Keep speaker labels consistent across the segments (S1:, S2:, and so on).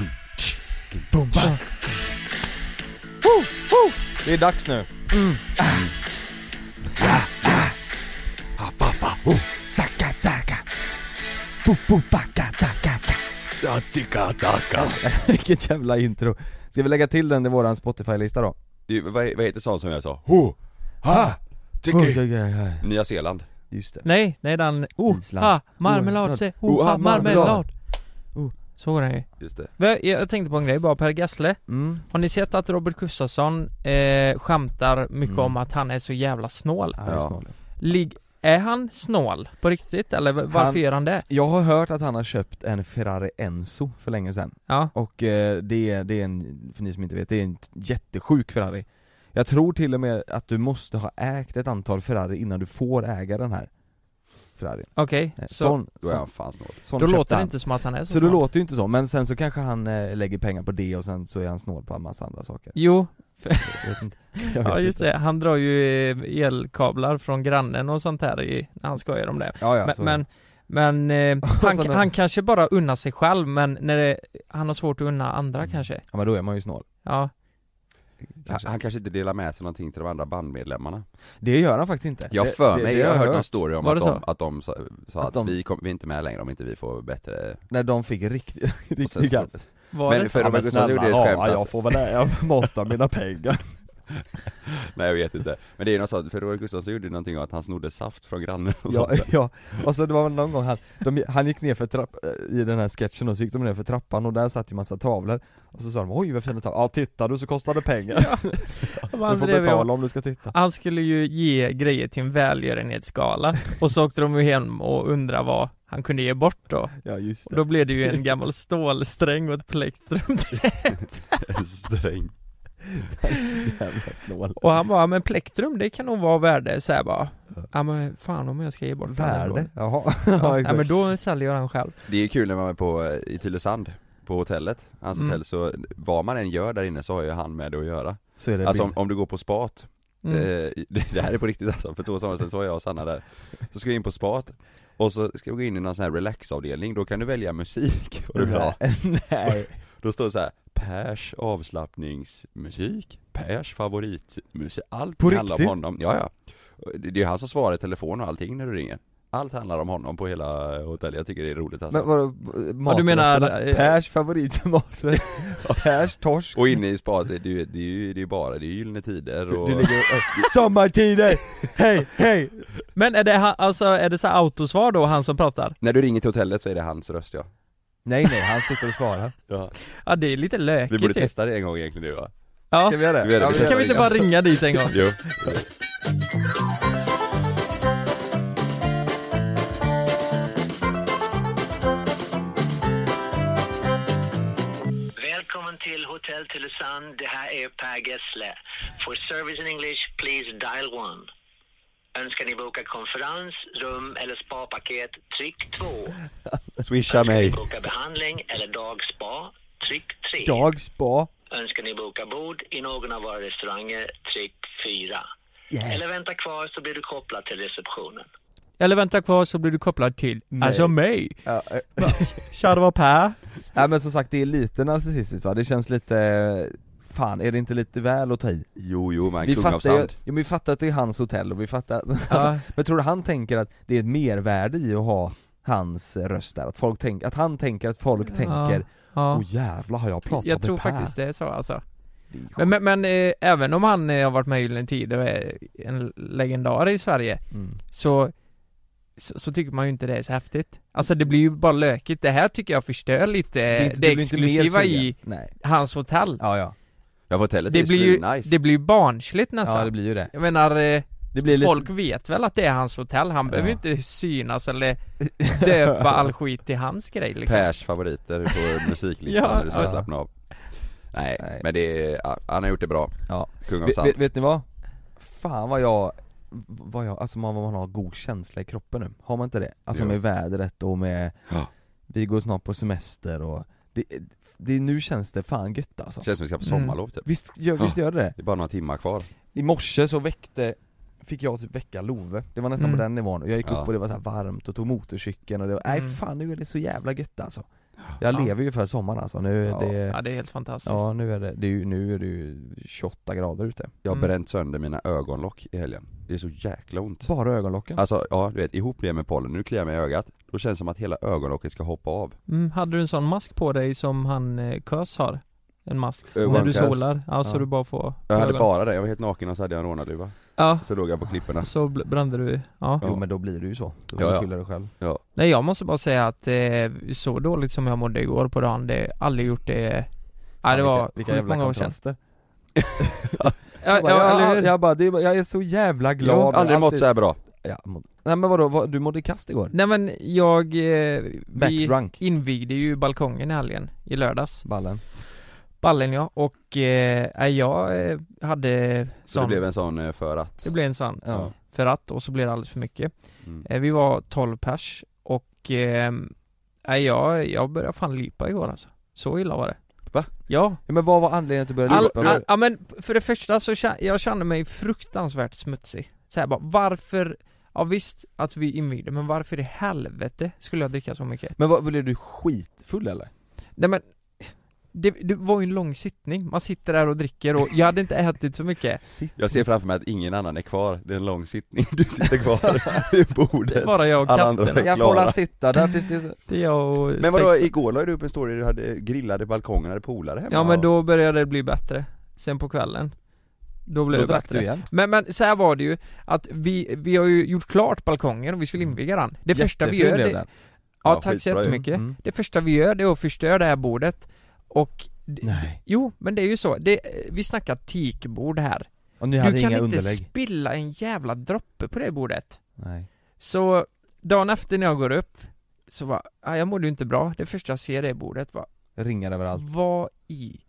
S1: Boom, boom.
S2: Woo, woo. Det är dags nu.
S1: Ha, fa, fa, ho. Saka, saka. Bo, bo, baka, saka, ka. Ja, ticka, tacka.
S2: Vilket jävla intro. Ska vi lägga till den i våran Spotify-lista då?
S3: Det, vad, vad heter sån som jag sa?
S1: Ho, ha, tiki.
S3: Nya Zeeland.
S2: Just det.
S4: Typ. Nej, nej den... Oh,
S2: Island.
S4: ha, marmelad,
S2: Oerhört.
S4: se, oh, ha, marmelad.
S2: ah, Oh.
S4: Så går den ju.
S3: Just det.
S4: Men Jag jag tänkte på en grej bara, Per Gessle.
S2: Mm.
S4: Har ni sett att Robert Gustafsson eh, skämtar mycket
S2: Mm.
S4: om att han är så jävla snål?
S2: Ja, det är
S3: Ja.
S2: snål.
S4: Ligg, är han snål på riktigt eller v- varför
S2: Han-
S4: gör han det?
S2: Jag har hört att han har köpt en Ferrari Enzo för länge sedan
S4: Ja,
S2: Och eh, det är, det är en, för ni som inte vet, det är en t- jättesjuk Ferrari Jag tror till och med att du måste ha ägt ett antal Ferrari innan du får äga den här Ferrari
S4: okej.
S2: Nej,
S4: Så,
S2: Eh, Sån,
S3: Då är han
S2: sån,
S3: fan snål.
S2: sån
S4: då
S2: köpte
S4: låter det
S2: han.
S4: inte som att han är så,
S2: Så det
S4: snål.
S2: låter ju inte så, men sen så kanske han eh, lägger pengar på det och sen så är han snål på en massa andra saker
S4: Jo,
S2: Jag vet inte. Jag vet
S4: ja just
S2: inte.
S4: det. Han drar ju eh, elkablar från grannen och sånt här i, när han skojar om det.
S2: Ja, ja, så-
S4: men, men, men eh, han,
S2: Sådana-
S4: han kanske bara unnar sig själv men när det, han har svårt att unna andra
S2: Mm.
S4: kanske.
S2: ja men då är man ju snål
S4: Ja,
S3: Han, han kanske inte delar med sig någonting till de andra bandmedlemmarna.
S2: Det gör han faktiskt inte
S3: Jag
S2: Det-
S3: för
S2: det-
S3: mig,
S2: det
S3: jag har
S2: har
S3: hört någon story om
S4: Var
S3: att
S4: det
S3: de,
S4: så?
S3: att de sa, sa
S2: Att
S3: att,
S2: de-
S3: vi, kom, vi är inte med längre om inte vi får bättre...
S2: När de fick riktigt,
S3: Och sen
S2: riktigt
S3: så-
S2: gas
S4: var
S3: Men
S4: det?
S3: för Robert Gustafsson gjorde ett skämt att-
S2: får väl jag måste ha mina pengar
S3: Nej jag vet inte. Men det är ju något sånt, för Robert Gustafsson gjorde ju någonting om att han snodde saft från grannen och
S2: ja,
S3: sånt där.
S2: ja, och så det var väl någon gång han, de, han gick ner för trapp, eh, i den här sketchen och så gick de ner för trappan och där satt ju massa tavlor Och så sa de 'Oj vad fina tavlor' 'Ja titta du så kostar det pengar,
S4: Man
S2: du får
S4: drev ju om-
S2: betala om du ska titta'
S4: Han skulle ju ge grejer till en välgörenhetsskala och så åkte de ju hem och undrade vad han kunde ge bort då.
S2: Ja just
S4: Och
S2: det
S4: då blev det ju en gammal stålsträng och ett plektrum
S3: En Sträng.
S2: Jävla snål
S4: Och han bara, men plektrum det kan nog vara värde så här bara Ja men fan om jag ska ge bort den här då."
S2: Värde? Jaha,
S4: Ja,
S2: ja,
S4: ja
S2: exakt.
S4: men då säljer jag den själv
S3: Det är kul när man är på, eh, i Tylösand, på hotellet, hans
S4: Mm.
S3: hotell, så vad man än gör där inne så har ju han med det att göra
S2: Så är det
S3: Alltså
S2: alltså,
S3: om, om du går på spat,
S4: mm.
S3: eh, det, det här är på riktigt alltså, för två somrar sedan så var jag och Sanna där Så ska jag in på spat, och så ska jag gå in i någon sån här relaxavdelning, då kan du välja musik vad du vill ha
S2: Nej,
S3: Då står det så här. Pers avslappningsmusik, Pers favoritmusik, allt
S2: På
S3: handlar om
S2: riktigt?
S3: honom, ja ja Det det är han som svarar i telefon och allting när du ringer Allt handlar om honom på hela hotellet, jag tycker det är roligt alltså.
S2: men vadå, maträtterna?
S4: du menar, eh,
S2: Pers favoritmaträtt, Pers torsk
S3: Och inne i spat, det är ju, det är ju, det är ju bara, det är ju gyllene tider och...
S2: Du ligger och, Sommartider! Hej, hej!
S4: Men är det han, alltså är det så här autosvar då han som pratar?
S3: När du ringer till hotellet så är det hans röst ja.
S2: Nej nej, han sitter och svarar
S3: ja.
S4: Ja det är lite
S3: Vi
S4: lökigt
S3: borde
S4: ju.
S3: testa det en gång egentligen nu va?
S4: Ja,
S2: Ska vi göra
S3: Ska vi göra det?
S2: Ja,
S4: kan vi inte bara ringa dit en gång?
S3: Jo.
S5: Välkommen till Hotel Tylösand. Det här är Per Gessle. For service in English, please dial 1. Önskar ni boka konferens, rum eller spapaket, tryck 2.
S3: Swisha mig.
S5: Boka behandling eller dagspa, tryck 3.
S2: Dag, spa,
S5: Önskar ni boka bord i någon av våra restauranger, tryck 4. Eller vänta kvar så blir du kopplad till receptionen.
S4: Eller vänta kvar så blir du kopplad till, alltså mig,
S2: Ja, eh,
S4: Charva Per
S2: Nej men som sagt det är lite narcissistiskt va, det känns lite, fan är det inte lite väl att ta i?
S3: Jo, jo man,
S2: Vi
S3: kung av
S2: fattar, ju,
S3: sand.
S2: jo, men vi fattar att det är hans hotell och vi fattar att,
S4: Ja.
S2: Men tror du han tänker att det är ett mervärde i att ha hans röst där? Att, folk tänk, att han tänker att folk tänker
S4: ja.
S2: Åh jävlar har jag pratat
S4: Jag tror
S2: med Per?
S4: faktiskt det är så alltså.
S2: Det är sjukt. Mm.
S4: Men, men, men eh, även om han eh, har varit med i Gyllene Tider och är en legendar i Sverige
S2: mm.
S4: så, så, så tycker man ju inte det är så häftigt. Alltså det blir ju bara lökigt. Det här tycker jag förstör lite eh, det,
S2: inte- blir inte mer
S4: exklusiva
S2: sugen.
S4: i
S2: Nej,
S4: hans hotell.
S2: ja ja,
S3: Ja för hotellet
S4: det,
S3: är
S4: blir ju,
S3: ju nice.
S4: det blir ju barnsligt nästan.
S2: ja det blir ju det
S4: Jag menar, eh,
S2: Det blir lite,
S4: folk vet väl att det är hans hotell. Han behöver ju inte synas eller döpa all skit till hans grej liksom.
S3: Pers favoriter på musiklistan
S4: Ja.
S3: när du ska
S2: Ja.
S3: slappna av. Nej,
S2: Nej.
S3: men det är, ja, han har gjort det bra.
S2: ja.
S3: Kung av
S2: vet,
S3: sand.
S2: vet, vet ni vad? Fan vad jag, vad jag, alltså man, man har god känsla i kroppen nu, har man inte det? Alltså
S3: Jo.
S2: med vädret och med,
S3: Ja.
S2: vi går snart på semester och, det, det, nu känns det fan gött alltså
S3: Känns som vi ska på sommarlov typ.
S2: Visst gör, visst gör det det?
S3: Det är bara några timmar kvar.
S2: I morse så väckte, fick jag typ väcka Love, det var nästan
S4: Mm.
S2: på den nivån, och jag gick
S3: Ja.
S2: upp och det var så här varmt och tog motorcykeln och det var, nej
S4: Mm.
S2: fan nu är det så jävla gött alltså Jag
S4: Ja.
S2: lever ju för sommaren alltså, nu är
S4: Ja,
S2: det
S4: ja, det är helt fantastiskt.
S2: Ja nu är det, det är ju, nu är det ju 28 grader ute
S3: Jag har
S4: Mm.
S3: bränt sönder mina ögonlock i helgen. Det är så jäkla ont.
S2: Bara ögonlocken?
S3: Alltså, ja du vet, ihop det med pollen, nu kliar jag mig i ögat, då känns det som att hela ögonlocket ska hoppa av.
S4: Mm, hade du en sån mask på dig som han eh, Kös har? En mask?
S3: Eh,
S4: när
S3: Juan
S4: du
S3: Kös?
S4: solar? Ja, så
S2: Ja.
S4: du bara får
S3: Jag hade
S4: ögon.
S3: bara det, jag var helt naken och så hade jag en rånarluva.
S4: Ja,
S3: Så låg jag på klipporna.
S4: och så bl- brände du, ja.
S3: Ja.
S2: Jo men då blir det ju så, då får
S3: Ja,
S2: du
S3: ja.
S2: skylla dig själv
S4: Nej jag måste bara säga att eh, så dåligt som jag mådde igår på dagen, det aldrig gjort det Ja det
S2: Fan,
S4: var
S2: vilka, vilka
S4: sjukt
S2: jävla
S4: många år sedan
S2: kontraster
S4: ja,
S2: jag, bara,
S4: ja, eller
S2: jag,
S4: hur?
S2: jag bara, det, är bara- jag är så jävla glad
S3: Jag har aldrig mått
S2: Alltid-
S3: så här bra.
S2: ja, må- Nej men vadå, vad, du mådde kast igår?
S4: Nej men jag, eh, vi
S2: Backdrunk
S4: invigde ju balkongen i helgen, i lördags
S2: Ballen
S4: Ballen ja, och eh, nej, jag eh, hade
S3: Så det
S4: sån
S3: blev en sån eh, för att.
S4: det blev en sån
S2: Ja.
S4: för att och så blev det alldeles för mycket
S3: Mm.
S4: eh, Vi var 12 pers och eh, nej, jag, jag började fan lipa igår alltså Så illa var det
S3: Va?
S4: Ja
S2: ja, Men vad var anledningen att du började
S4: All,
S2: lipa?
S4: all, ja men för det första så kä- jag kände mig fruktansvärt smutsig så här bara, varför Ja visst att vi invigde, men varför i helvete skulle jag dricka så mycket?
S2: Men vad, blev du skitfull eller?
S4: Nej men det, det var ju en lång sittning, man sitter där och dricker och jag hade inte ätit så mycket
S2: Sitt
S3: Jag ser framför mig att ingen annan är kvar, det är en lång sittning, du sitter kvar vid bordet.
S4: Bara jag och
S3: Alla andra
S4: katterna,
S2: Jag får
S3: Klara.
S2: hålla sitta där tills det är så-
S4: det är jag och
S3: Men vadå,
S4: Spexen.
S3: igår la du upp en story där du hade grillade balkonger, hade polare hemma
S4: Ja men då började det bli bättre, sen på kvällen Då blev
S2: Då
S4: det
S2: drack
S4: bättre
S2: du igen
S4: Men, men så här var det ju, att vi, vi har ju gjort klart balkongen och vi skulle inviga den Det första vi gör,
S2: Mm. Jättefin blev
S4: det,
S2: den.
S4: Ja,
S3: Ja,
S4: tack så
S3: skitbra ju.
S4: jättemycket.
S2: Mm.
S4: Det första vi gör det är att förstöra det här bordet och d-
S2: Nej,
S4: Jo, men det är ju så. Det, vi snackar teakbord här.
S2: och ni hade
S4: du kan
S2: inga
S4: inte
S2: underlägg?
S4: spilla en jävla droppe på det bordet.
S2: Nej
S4: Så dagen efter när jag går upp så bara, "Ah, jag mådde ju inte bra. Det första jag ser är bordet. Bara,
S2: Ringar överallt
S4: vad i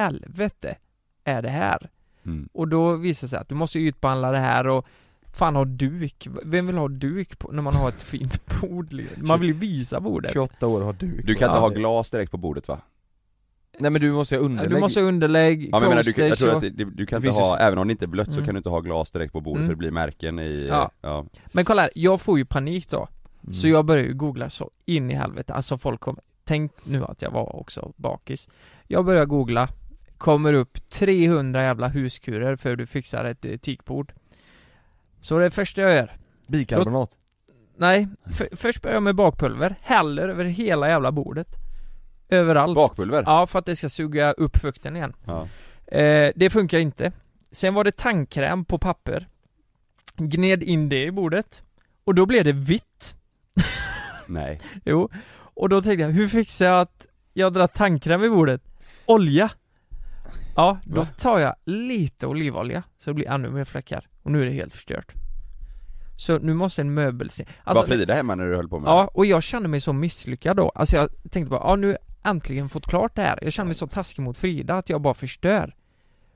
S4: helvete är det här?
S3: Mm.
S4: Och då visar det sig att du måste ju utbehandla det här och Fan ha duk, vem vill ha duk på, när man har ett fint bord? liksom? Man vill ju visa bordet
S2: 28 år har du
S3: Du kan inte
S4: Ja.
S3: ha glas direkt på bordet va?
S2: Nej men du måste ha
S4: Ja,
S2: underlägg
S4: Du måste ha underlägg,
S3: Ja men jag menar, du, kan- jag
S4: coasters
S3: tror
S4: och...
S3: att det, det- du kan
S2: Det
S3: inte
S2: finns ju
S3: ha, även om det inte är blött så
S4: Mm.
S3: kan du inte ha glas direkt på bordet
S4: Mm.
S3: för det blir märken i,
S4: Ja.
S3: ja, ja.
S4: Men kolla här, jag får ju panik då.
S2: Mm.
S4: Så jag börjar ju googla så in i helvete. Alltså folk kom... Tänk nu att jag var också bakis. Jag börjar googla. Kommer upp 300 jävla huskurer för hur du fixar ett eh, teakbord. Så det första jag gör.
S2: Bikarbonat
S4: Nej, för, först börjar jag med bakpulver. Häller över hela jävla bordet. Överallt.
S3: Bakpulver?
S4: Ja, för att det ska suga upp fukten igen.
S3: Ja.
S4: Eh, det funkar inte. Sen var det tandkräm på papper. Gned in det i bordet. Och då blev det vitt.
S3: Nej.
S4: Jo. Och då tänkte jag, hur fixar jag att jag drar tandkräm i bordet? Olja! Ja, då
S3: Va?
S4: tar jag lite olivolja så det blir ännu mer fläckar. Och nu är det helt förstört. Så nu måste en möbel se. Alltså,
S3: var Frida hemma när du höll på med
S4: Ja, och jag kände mig så misslyckad då. Alltså jag tänkte bara, ja nu har jag äntligen fått klart det här. Jag kände mig så taskig mot Frida att jag bara förstör.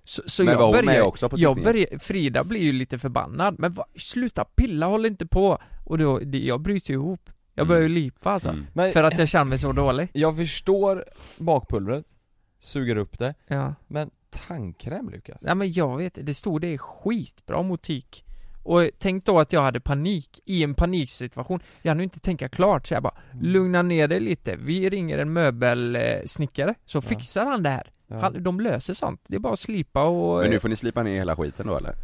S4: Så, så
S3: det? Men
S4: jag
S3: var hon
S4: började,
S3: med också på
S4: jag
S3: sittningen?
S4: började, Frida blir ju lite förbannad, men va, sluta pilla, håll inte på! Och då, det, jag bryter ihop. Jag börjar ju lipa alltså.
S3: Mm.
S2: Men
S4: För att jag känner mig så dålig.
S2: jag förstår bakpulvret, suger upp det,
S4: Ja.
S2: men tandkräm Lukas?
S4: Nej men jag vet det stod det är skitbra motik. Och tänk då att jag hade panik, i en paniksituation. Jag hann ju inte tänka klart så jag bara, lugna ner dig lite. Vi ringer en möbelsnickare, så fixar han det här.
S2: Ja.
S4: Han, de löser sånt. Det är bara att slipa och...
S3: Men nu får ni slipa ner hela skiten då eller?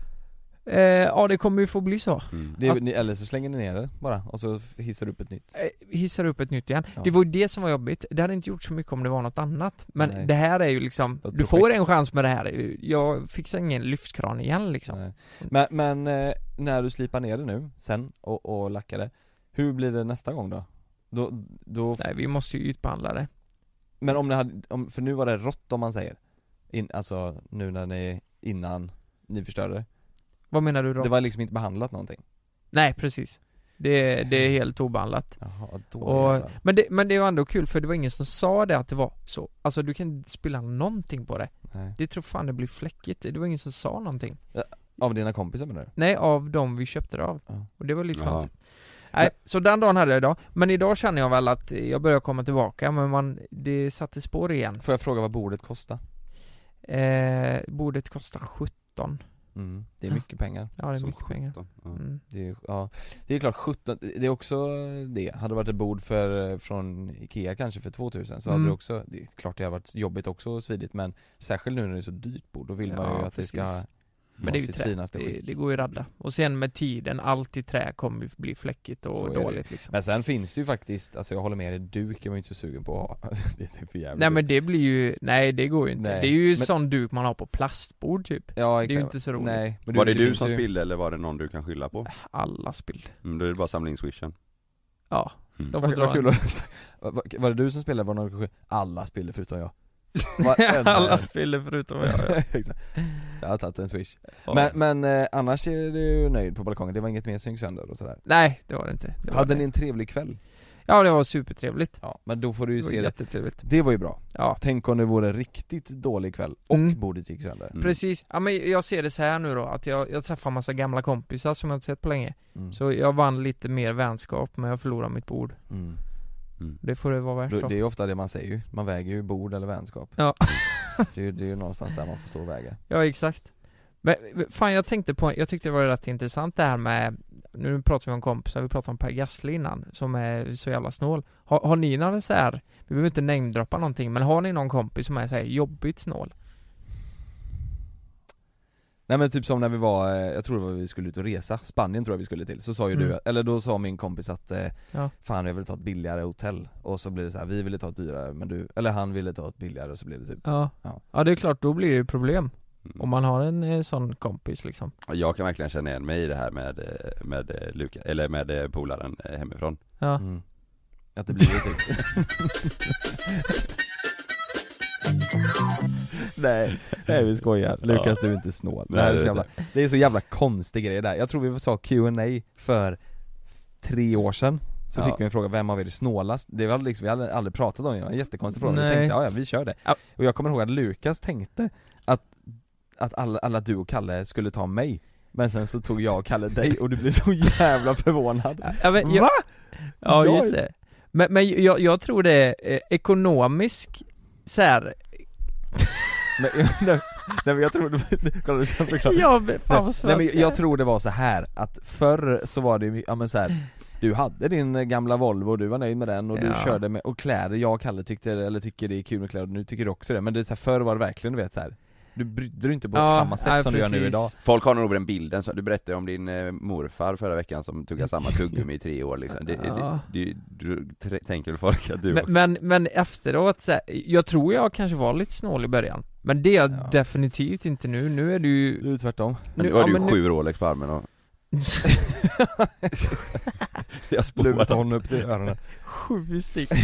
S3: Mm.
S4: eh, ja det kommer ju få bli så.
S2: Det, ni, eller så slänger ni ner det bara, och så f- hissar du upp ett nytt
S4: Eh, hissar upp ett nytt igen.
S2: Ja.
S4: Det var ju det som var jobbigt. Det hade inte gjort så mycket om det var något annat. Men
S2: Nej.
S4: det här är ju liksom,
S2: Ett
S4: du får en chans med det här. Jag fixar ingen lyftkran igen liksom.
S2: Nej. Eh, Men, men eh, när du slipar ner det nu, sen, och, och lackar det Hur blir det nästa gång då? Då, då f-
S4: Nej vi måste ju utbehandla det.
S2: men om ni hade, om, för nu var det rått om man säger In, Alltså nu när ni, innan ni förstörde det
S4: Vad menar du då?
S2: Det var liksom inte behandlat någonting
S4: Nej precis Det, det är helt obehandlat
S2: Jaha, då
S4: och,
S2: jävlar.
S4: men, det, men det var ändå kul för det var ingen som sa det att det var så Alltså du kan inte spilla någonting på det
S2: Nej.
S4: Det tror fan det blir fläckigt Det var ingen som sa någonting
S2: Av dina kompisar menar du?
S4: Nej av dem vi köpte det av
S2: Ja.
S4: Och det var lite
S3: Jaha.
S4: konstigt Nej, så den dagen hade jag idag Men idag känner jag väl att jag börjar komma tillbaka Men man, det satte spår igen
S2: Får jag fråga vad bordet kostar?
S4: eh, Bordet kostar 17
S2: Mm. Det är mycket pengar.
S4: Ja, det är
S3: Som
S4: mycket pengar.
S3: sjutton, ja.
S4: Mm.
S2: Det är, ju- ja, det är klart 17, det är också det. Hade det varit ett bord för, från Ikea kanske för 2000 så hade
S4: Mm.
S2: det också, det är klart det har varit jobbigt också och svidigt men särskilt nu när det är så dyrt bord, då vill man
S4: Ja,
S2: ju att det ska
S4: precis. Men det är ju
S2: sitt
S4: trä,
S2: finaste
S4: det,
S2: skick.
S4: det går ju att radda. Och sen med tiden, allt i trä kommer ju bli fläckigt
S2: Så är
S4: och
S2: det.
S4: dåligt liksom.
S2: Men sen finns det ju faktiskt, alltså jag håller med dig, duk är man ju inte så sugen på att ha. Alltså, Det är för jävligt.
S4: Nej men det blir ju, nej det går ju inte.
S2: Nej,
S4: Det är ju
S2: men-
S4: sån duk man har på plastbord typ.
S2: ja,
S4: Det
S2: exakt.
S4: är ju inte så roligt.
S2: Nej, men
S3: Var det, du
S2: finns
S3: som
S2: ju-
S3: spillde eller var det någon du kan skylla på?
S4: Äh. Alla spill.
S3: Mm, då är det bara samlingsswishen
S4: Ja.
S3: Mm.
S4: De får
S2: Vad,
S4: dra
S2: vad
S4: en.
S2: kul att, vad- var det du som spelade? Var det någon, alla spillde förutom jag. Varenda
S4: Alla
S2: en.
S4: spiller förutom jag. ja.
S2: Exakt. Så jag har tagit en swish.
S4: Ja.
S2: Men, men eh, annars är du nöjd på balkongen, det var inget mer synk sönder och sådär.
S4: Nej, det var det inte. Det var
S2: Hade
S4: det.
S2: ni en trevlig kväll?
S4: Ja, det var supertrevligt.
S2: Ja, men då får du
S4: Det
S2: ju
S4: var
S2: se det.
S4: jättetrevligt.
S2: Det var ju bra.
S4: Ja.
S2: Tänk om det vore en riktigt dålig kväll och
S4: Mm.
S2: bordet gick sönder.
S3: Mm.
S4: Precis, ja men jag ser det så här nu då, att jag, jag träffar massa gamla kompisar som jag inte sett på länge
S2: Mm.
S4: Så jag vann lite mer vänskap, men jag förlorade mitt bord
S2: Mm.
S4: Det får det vara värt
S2: Då,
S4: då
S2: det är ju ofta det man säger ju, man väger ju bord eller vänskap.
S4: Ja.
S2: det, är ju, det är ju någonstans där man får stå och väga.
S4: Ja, exakt Men fan jag tänkte på, jag tyckte det var rätt intressant det här med Nu pratar vi om kompisar, vi pratade om Per Gessle innan, som är så jävla snål Har, har ni några så här, vi behöver inte namedroppa någonting, men har ni någon kompis som är så här jobbigt snål?
S2: Nej men typ som när vi var, eh, jag tror det var vi skulle ut och resa, Spanien tror jag vi skulle till, så sa ju du,
S4: Mm.
S2: eller då sa min kompis att eh,
S4: Ja.
S2: Fan jag vill ta ett billigare hotell, och så blir det så här, vi ville ta ett dyrare men du, eller han ville ta ett billigare och så blev det typ
S4: Ja
S2: Ja.
S4: Ja det är klart, då blir det ju problem
S3: Mm.
S4: om man har en eh, sån kompis liksom
S3: Jag kan verkligen känna igen mig i det här med, eh, med eh, Luka, eller med eh, polaren eh, hemifrån
S4: Ja
S2: mm. Att det blir det typ Nej, nej vi skojar. Lukas du är inte snål. Det, här är
S3: Nej,
S2: så
S3: det-
S2: jävla, det är så jävla konstig grej där. Jag tror vi sa Q&A för tre år sedan så
S3: Ja.
S2: fick vi en fråga, vem av er är snålast? Det var liksom, vi hade aldrig pratat om det, det var en jättekonstig fråga, vi
S4: Nej.
S2: tänkte ja, ja vi kör det
S4: Ja.
S2: Och jag kommer ihåg att Lukas tänkte att, att alla, alla du och Kalle skulle ta mig Men sen så tog jag och Kalle dig och du blev så jävla förvånad
S4: Ja, men, jag,
S2: Va?
S4: ja
S2: Jag-
S4: just det. Men, men jag, jag tror det är eh, ekonomisk så här.
S2: Men, nej, nej men jag tror, kolla du ska förklara
S4: Ja, men fan vad
S2: Nej men
S4: svensk
S2: jag tror det var så här att förr så var det ju, ja men så här. Du hade din eh, gamla Volvo och du var nöjd med den och du
S4: Ja.
S2: körde med, och kläder, jag och Kalle tyckte, eller tycker det är kul med kläder, och nu tycker du också det, men det är så här, förr var det verkligen du vet så här. Du brydde dig inte på samma sätt
S4: nej,
S2: som du gör nu
S4: precis.
S2: idag
S3: Folk har nog den bilden, så du berättade ju om din eh, morfar förra veckan som tuggade samma tuggummi i tre år liksom. det,
S4: Ja.
S3: det, du, du tre, tänker väl folk att du
S4: Men, men, men efteråt så här, jag tror jag kanske var lite snål i början Men det är jag
S2: Ja.
S4: definitivt inte nu, nu är du ju
S2: Du är tvärtom
S3: Men
S4: nu,
S3: nu har
S4: ja,
S3: du ju
S4: men nu-
S3: sju Rolex på armen och jag
S2: Lurat honom upp till öronen
S4: Sju stycken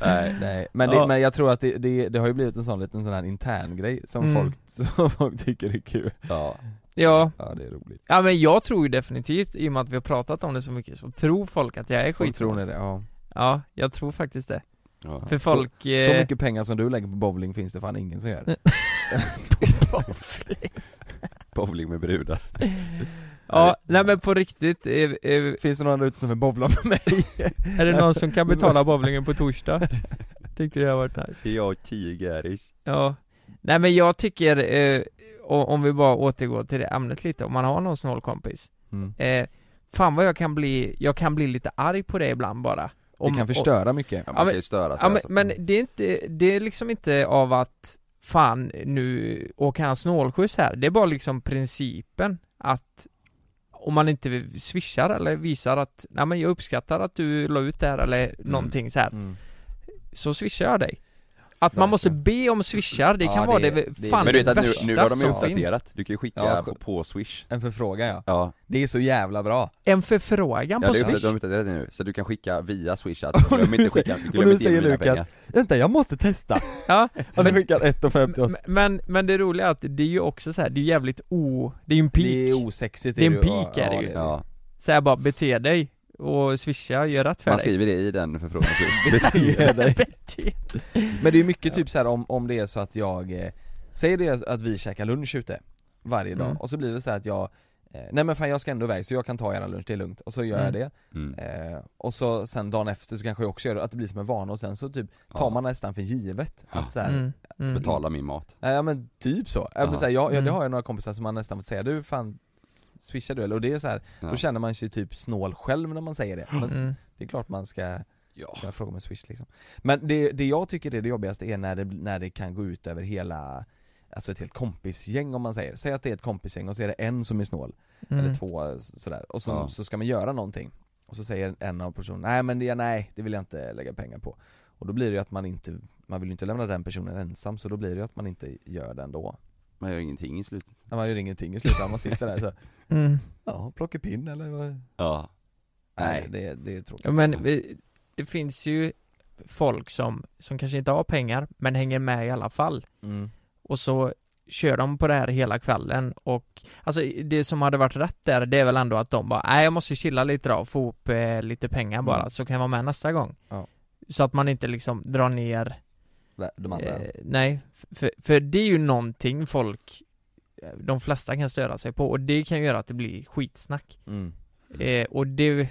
S2: Nej, nej. Men, det,
S4: Ja.
S2: men jag tror att det, det, det har ju blivit en sån liten sån här intern grej som,
S4: Mm.
S2: folk, som folk tycker är kul
S3: Ja,
S4: Ja,
S2: Ja det är roligt
S4: ja men jag tror ju definitivt, i och med att vi har pratat om det så mycket, så tror folk att jag är
S2: Folk tror
S4: skitsnål
S2: ni det, ja.
S4: Ja, jag tror faktiskt det
S3: ja.
S4: För folk...
S2: Så
S4: eh,
S2: mycket pengar som du lägger på bowling finns det fan ingen som gör
S3: Bowling med brudar
S4: Ja, nej men på riktigt, eh, eh,
S2: Finns det någon där ute som vill bowla med mig?
S4: är det någon som kan betala bowlingen på torsdag? Tyckte det har varit nice
S3: Jag och tio gäris
S4: Ja Nej men jag tycker, eh, o- om vi bara återgår till det ämnet lite, om man har någon snål kompis
S2: Mm.
S4: eh, Fan vad jag kan bli, jag kan bli lite arg på det ibland bara
S2: Det
S4: Om-
S2: kan förstöra mycket
S3: Ja, man
S4: Ja, men-
S3: kan ju störa sig
S4: Ja, men,
S3: alltså.
S4: men det är inte, det är liksom inte av att fan nu åker han snålskjuts här, det är bara liksom principen att om man inte swishar eller visar att, nej men jag uppskattar att du la ut det här eller någonting så här,
S2: Mm.
S4: så swishar jag dig Att man måste be om swishar, det
S2: Ja,
S4: kan vara
S2: det-
S4: det,
S2: det-
S4: fan
S3: Men
S4: det
S3: du vet att nu,
S4: värsta
S3: nu har de ju
S4: som finns
S3: uppdaterat, du kan ju skicka
S2: Ja,
S3: på, på swish
S2: En förfrågan ja,
S3: Ja,
S2: det är så jävla bra
S4: En förfrågan
S3: ja
S4: på
S3: det är
S4: Swish
S3: uppdaterat, de har uppdaterat det nu, så du kan skicka via swish att glöm inte skicka, glöm
S2: nu
S3: inte ge
S2: säger
S3: mig dina
S2: Lukas,
S3: pengar
S2: Vänta jag måste testa!
S4: Ja,
S2: Han skickar 1,50 till oss
S4: men, men, men det roliga är att det är ju också så här, det är jävligt o... Det är ju en peak
S2: Det är osexigt
S4: Det är en
S2: ju.
S4: peak är det ju.
S3: Ja,
S4: Så här bara, bete dig och swisha, gör rätt för
S3: man
S4: dig
S3: skriver det i den förfrågan
S2: Ge dig.
S4: Bete-
S2: Men det är ju mycket typ så här om, om det är så att jag eh, Säger det att vi käkar lunch ute Varje dag
S4: Mm.
S2: och så blir det så här att jag eh, Nej men fan jag ska ändå iväg så jag kan ta era lunch, det är lugnt. Och så gör jag
S4: Mm.
S2: det,
S3: Mm.
S2: eh, och så sen dagen efter så kanske jag också gör det, att det blir som en vana och sen så typ tar
S3: Ja.
S2: man nästan för givet
S3: Ja.
S2: att så här,
S4: Mm. Mm.
S3: Betala min mat.
S2: Nej, Ja men typ så, ja, men
S3: Jaha.
S2: så här, jag, jag, det
S4: Mm.
S2: har jag några kompisar som man nästan fått säga du fan Swishar du eller? Och det är så här,
S3: Ja.
S2: då känner man sig typ snål själv när man säger det men
S4: Mm.
S2: Det är klart man ska
S3: Ja.
S2: kunna fråga med swish liksom Men det, det jag tycker är det jobbigaste är när det, när det kan gå ut över hela Alltså ett helt kompisgäng om man säger, säg att det är ett kompisgäng och så är det en som är snål,
S4: Mm.
S2: eller två sådär, och så,
S3: Ja.
S2: så ska man göra någonting Och så säger en av personerna, nej men det, nej, det vill jag inte lägga pengar på Och då blir det ju att man inte, man vill ju inte lämna den personen ensam så då blir det ju att man inte gör det ändå
S3: Man gör ingenting i slutet.
S2: Ja, man gör ingenting i slutändan, man sitter där så
S4: Mm.
S2: Ja, plockepinn eller vad?
S3: Ja.
S2: Nej
S3: Nej.
S2: det, det är tråkigt
S4: Ja, men vi- det finns ju folk som, som kanske inte har pengar men hänger med i alla fall
S2: mm.
S4: och så kör de på det här hela kvällen och alltså det som hade varit rätt där det är väl ändå att de bara nej jag måste chilla lite då och få ihop eh, lite pengar bara
S2: Mm.
S4: så kan jag vara med nästa gång.
S2: Ja.
S4: Så att man inte liksom drar ner
S2: De andra
S4: Eh, nej, f- för, för det är ju någonting folk eh, de flesta kan störa sig på och det kan göra att det blir skitsnack.
S2: mm.
S4: Eh, och det,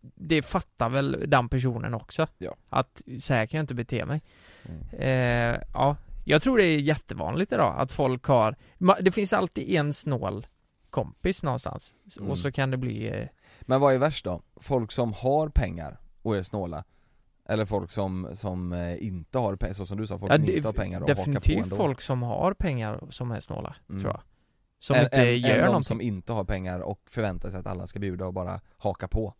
S4: det fattar väl den personen också.
S2: Ja.
S4: Att så här kan jag inte bete mig.
S2: Mm.
S4: Eh, ja, jag tror det är jättevanligt idag att folk har, ma- det finns alltid en snål kompis någonstans. S-
S2: Mm.
S4: Och så kan det bli, eh,
S2: Men vad är värst då? Folk som har pengar och är snåla? Eller folk som, som eh, inte har pengar, så som du sa, folk
S4: Ja,
S2: som
S4: det-
S2: inte har pengar och hakar på
S4: definitivt
S2: ändå?
S4: folk som har pengar som är snåla,
S2: Mm.
S4: tror jag. Som
S2: Än-
S4: inte
S2: än-
S4: gör
S2: än de
S4: någonting.
S2: som inte har pengar och förväntar sig att alla ska bjuda och bara haka på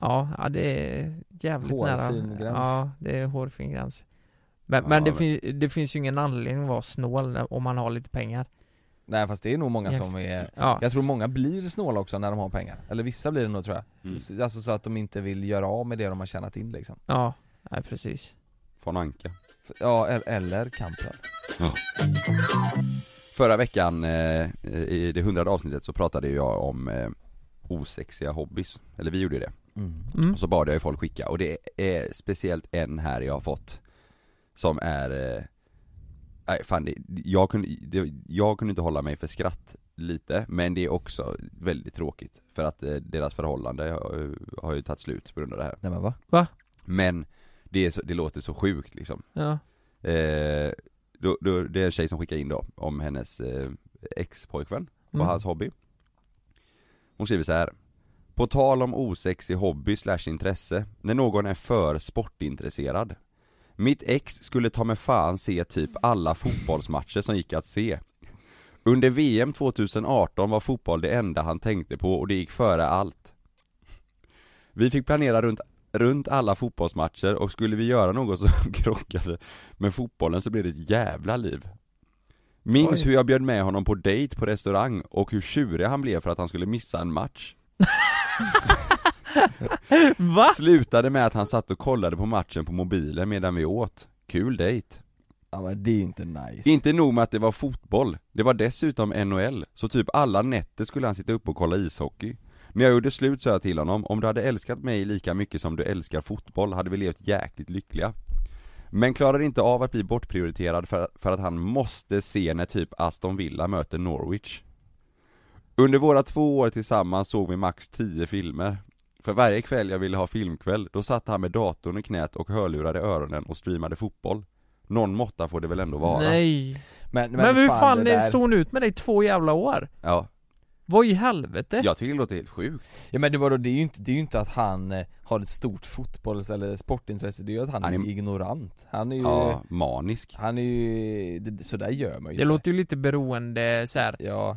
S4: Ja, ja det är jävligt
S2: Hårfin
S4: nära
S2: gräns.
S4: Ja, det är hårfin gräns Men,
S3: Ja,
S4: men, det,
S3: men-
S4: Fin, det finns ju ingen anledning att vara snål när- om man har lite pengar
S2: Nej fast det är nog många
S4: Ja.
S2: som är
S4: Ja,
S2: Jag tror många blir snåla också när de har pengar, eller vissa blir det nog tror jag
S3: Mm.
S2: S- Alltså så att de inte vill göra av med det de har tjänat in liksom
S4: ja, nej, precis
S3: Från Anka.
S2: F- Ja, el- eller kampen
S3: Förra veckan, eh, i det hundrade avsnittet, så pratade ju jag om eh, osexiga hobbys. Eller vi gjorde det.
S2: mm.
S4: mm.
S3: Och så bad jag ju folk skicka och det är speciellt en här jag har fått Som är eh, Nej fan det, jag, kunde, det, jag kunde inte hålla mig för skratt lite Men det är också väldigt tråkigt För att eh, deras förhållande har, eh, har ju tagit slut på grund av det här
S2: Nej men va?
S3: Men det, är så, det låter så sjukt liksom
S4: Ja,
S3: eh, då, då, Det är en tjej som skickar in då om hennes eh, ex-pojkvän
S4: mm.
S3: och hans hobby Hon skriver så här. På tal om osexig hobby slash intresse, när någon är för sportintresserad Mitt ex skulle ta med fan se typ alla fotbollsmatcher som gick att se Under VM 2018 var fotboll det enda han tänkte på och det gick före allt Vi fick planera runt, runt alla fotbollsmatcher och skulle vi göra något som krockade med fotbollen så blev det ett jävla liv Minns
S4: Oj.
S3: hur jag bjöd med honom på dejt på restaurang och hur tjurig han blev för att han skulle missa en match
S4: Va?
S3: Slutade med att han satt och kollade på matchen på mobilen medan vi åt Kul dejt
S2: Ja men det är ju inte nice
S3: Inte nog med att det var fotboll, det var dessutom NHL, så typ alla nätter skulle han sitta upp och kolla ishockey. När jag gjorde slut sa jag till honom, om du hade älskat mig lika mycket som du älskar fotboll hade vi levt jäkligt lyckliga. Men klarar inte av att bli bortprioriterad för, för att han måste se när typ Aston Villa möter Norwich. Under våra två år tillsammans såg vi max 10 filmer. För varje kväll jag ville ha filmkväll, då satt han med datorn i knät och hörlurar i öronen och streamade fotboll. Någon måtta får det väl ändå vara?
S4: Nej
S2: Men,
S4: Men, hur fan
S2: det där-
S4: stod hon ut med dig i två jävla år?
S3: Ja,
S4: Vad i helvete?
S3: jag tycker det låter helt sjukt
S2: Ja men det, var då, det, är ju inte, det är ju inte att han eh, har ett stort fotbolls eller sportintresse, det är ju att han,
S3: Han
S2: är,
S3: är-
S2: ignorant Han är ju,
S3: Ja, manisk
S2: han är ju, det, sådär gör man ju
S4: Det
S2: inte.
S4: låter ju lite beroende så här.
S2: Ja,